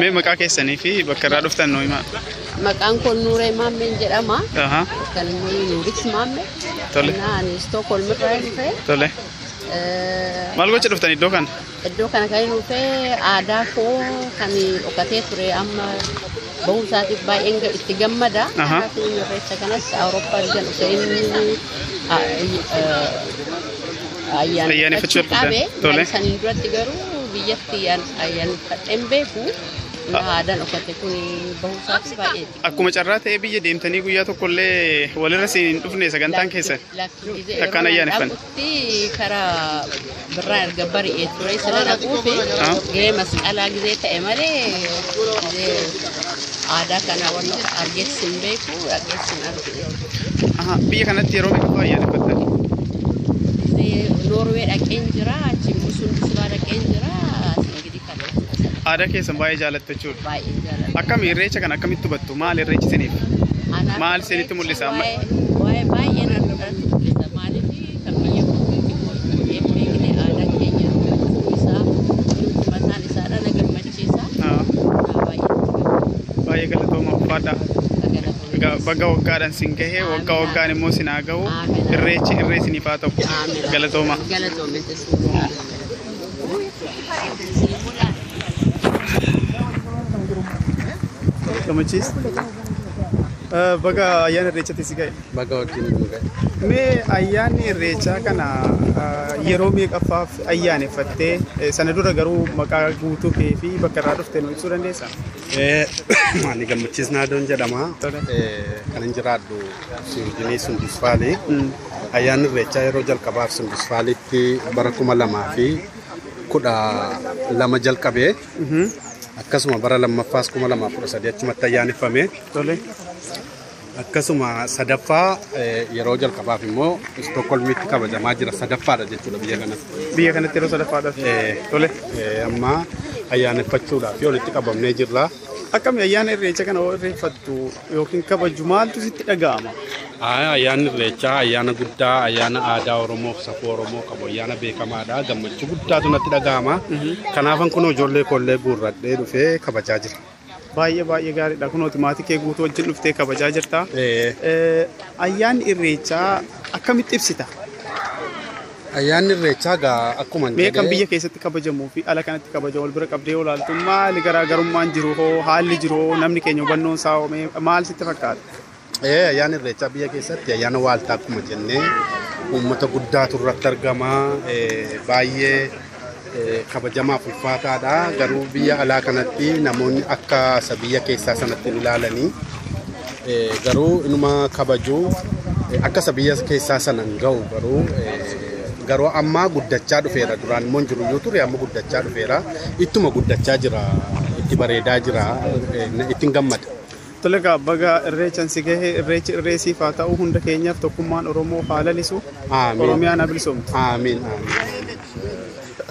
Mee maqaa keessanii fi bakka irraa dhuftan noo himaa. Maqaan kun Nuuree Maammeen jedhama. Ahaa, Kan inni Nuuriks Maammee. Tole. Innaa ani Stookholm irraa dhufee tole. eh, Maal gocha dhuftan iddoo kana? iddoo kana kan inni dhufee aadaa koo kan dhokatee ture amma bahuu isaatiif baay'een ga- itti gammada. Aha. Akkasumas irreecha kanas Awurooppaa biyyan Useenii a- eh, Ayyaaneffachuu ayyaaneffachuu qabe. qabe. ya. Tole. Tole. Saniin duratti garuu biyyatti ayyaaneffadheen beeku. Ah. Aadaan dhokate kun bahuu isaatiif baay'ee itti Akkuma carraa ta'ee biyya deemtanii guyyaa tokko illee walirra siin hin dhufne sagantaan keessa. Akkaan ayyaaneffanne. Dhaqutti karaa birraa erga bari'ee ture sana dhaquufi Ah. gahee masqalaa gizee ta'e malee gizee aadaa kana waan argees hin beeku dhaqees hin argine. Ahaa, biyya kanatti yeroo meeqa fa'aa ayyaaneffattan? Gizee Noorwee dhaqeen jira, achi Musundisbaa dhaqeen jira, asii gidi kana Aadaa keessan baay'ee jaalatta jechuudha. baay'ee jaalladha. Akkami irreecha kana akkamitti hubattu? Maal irreechi isiniif? Anaaf Maal isinitti mul'isa? waa'ee- waa'ee baay'ee nan mul'atu mul'isa. Maaliif kan biyya kootii beekne aadaa keenya ibsuu isaa, mataan isaa dhala gammachiisa. Haa, Naa baay'ee itti gammada. baay'ee galatooma uffadha. Galatoonis. Egaa Bagga waggaadhaan sin gahee, waggaa waggaan immoo sin haa gahu. Amiin. Irreechi irree isiniif haa ta'u. Amiin. Galatooma. Galatoometis. Gamachiis. Baga ayyaana irreechatti si ga'e. Bakka waqtiin nu ga'e. Mee ayyaanni irreechaa kana uh, yeroo meeqaffaaf ayyaaneffattee eh, sana dura garuu maqaa guutuu kee fi bakka irraa dhufte nu ibsuu dandeessaa? Eh, Ani gammachiis naadoon jedhama. Tole. Eh, Kan hin jiraadhu Siwiidinii Sundisfaali. Hmm. Ayyaanni Irreechaa yeroo jalqabaaf Sundisfaalitti bara kuma lamaa fi kudha lama jalqabee Mhm. akkasuma bara lammaffaas kuma lamaaf kudha sadii achumatti ayyaaneffame. Tole. Akkasuma sadaffaa eh, yeroo jalqabaaf immoo Istookholmitti kabajamaa jira. Sadaffaadha jechuudha biyya kanatti. Biyya kanatti yeroo sadaffaadhaaf. Eh, Tole. eh, Amma ayyaaneffachuudhaaf walitti qabamnee jirra. Akkami ayyaana irreecha kana yoo irreeffattu yookiin kabaju maaltu sitti dhaga'ama? Aa, ayyaanni irreechaa ayyaana guddaa ayyaana aadaa oromoof safuu oromoo qabu ayyaana beekamaadha gammachuu guddaatu natti dhaga'ama kanaafan kun ijoollee koollee guurradhee dhufee kabajaa jira Baay'ee baay'ee gaariidha. Kunoo timaatii kee guutuu wajjin dhuftee kabajaa jirta. Eh, Eh, Ayyaanni irreechaa akkamitti ibsita? ayyaanni irreechaa gaa akkuma Mee kan jedhee- biyya keessatti kabajamuu fi ala kanatti kabajamu wal bira qabdee olaaltummaa haalli garaagarummaan jiru hoo haalli jiru hoo namni keenya hubannoon isaa hoo mee maal sitti fakkaata? Eh, ayyaanni irreechaa biyya keessatti ayyaana waaltaa akkuma jennee uummata guddaatu irratti argama eh, baay'ee eh, kabajamaaf ulfaataadha garuu biyya alaa kanatti namoonni akka isa biyya keessaa sanatti hin ilaalanii eh, garuu inuma kabajuu eh, akka isa biyya keessaa sana hin ga'u garuu eh, garuu ammaa guddachaa dhufeera duraan immoo hin jiruyyuu ture amma guddachaa dhufeera ittuma guddachaa jira itti bareedaa jira eh, ittiin gammada. Tole egaa baga irreechaan si gahee irreechi irreesiif haa ta'u hunda keenyaaf tokkummaan Oromoo haa lalisu. Aamiin. Oromiyaan haa bilisoomtu. Amiin amiin.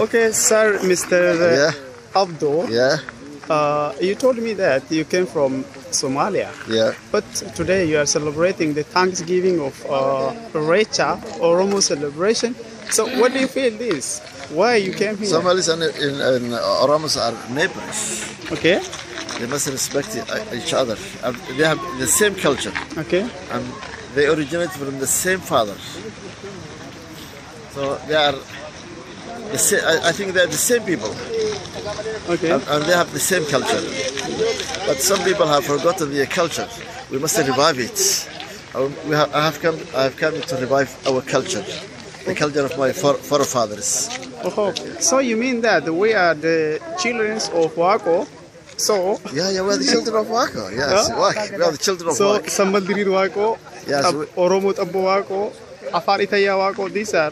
Okay, sir, Mr. Yeah. Abdul, Yeah, uh, you told me that you came from Somalia. yeah, But today you are celebrating the Thanksgiving of uh, Recha, Oromo celebration. So what do you feel this? Why you came here? Somalis and in, in Oromos are neighbors. Okay, They must respect e- each other. And they have the same culture okay. and they originate from the same father. So they are, the sa- I, I think they are the same people Okay. and, and they have the same culture. But some people have forgotten their culture. We must revive it. I- We have, I, have come, I have come to revive our culture, the culture of my fore- forefathers. Oh, so you mean that we are the children of Wako? So, Yeah, yeah, we're the children of Wako. Yes, Huh? Wak. We are the children of so Wak. Sambaldirid Wako, Yes, Ab- we- Oromo Tambo Wako, Afar Itaya Wako, these are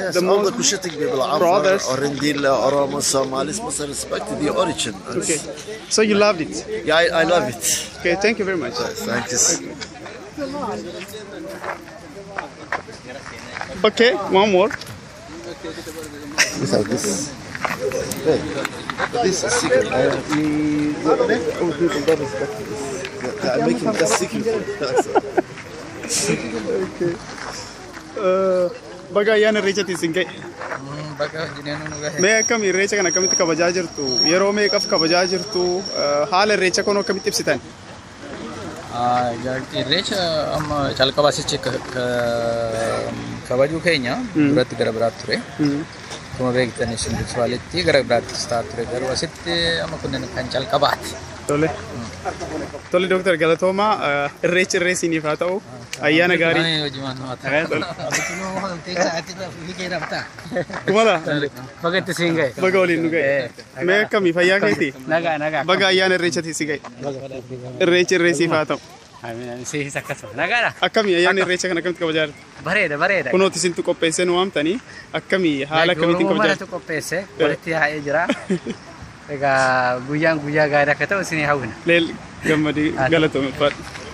Yes, the all the most Cushitic people, Afar, brothers. Orindila, Oromo, Somalis, must respect the origin. okay. So you loved it. Yeah, I, I love it. Okay, thank you very much. Thank you. Okay, one more. These are this. Hey, this is secret. I, you, all people don't respect this. They are making this secret. Uh, baga ayyaana irreechatiin sin ga'e. Hmm, baga jineenuu nu gahe. Mee akkam irreecha kana akkamitti kabajaa jirtu? Yeroo meeqaf kabajaa jirtu? Eh, Haala irreecha kun akkamitti ibsitan? Ah, ja- Irreecha amma calqabaasichi ka- ka- kabajuu keenya duratti gara biraatti ture. Hmm. Akkuma beektan isin bisuwaalitti gara biraattis ta'a ture. Garuu asitti amma kunneen kan calqabaati. Tole. Tole Dooktar Galatoomaa eh, irreechi irreesiniif haa Ah, ta'u ayyaana gaarii. Baay'ee hojii mannoo ta'e. Eh, tole. Hijjeedhaaf ta'a. Kumala Baga itti siin ga'e. baga waliin nu ga'e. Eh, Mee akkamii fayyaa keetii? Nagaa nagaa. Baga ayyaana irreechatii si ga'e. Irreechi irreesiif haa ta'u. Seesisa akkasuma. Nagaadha. Akkamii ayyaana irreecha kana akkamitti kabajaa jirtu? Bareeda bareeda. Kunoo isintu qopheessee nu waamtanii akkamii haala akkamiitiin Yommuu kabajaa maratu jirtu? ¿eh? qopheesse walitti yaa'ee jira. Egaa guyyaan guyyaa gaarii akka ta'u isin hawwina. Leel gammadii galatoomeffadhu.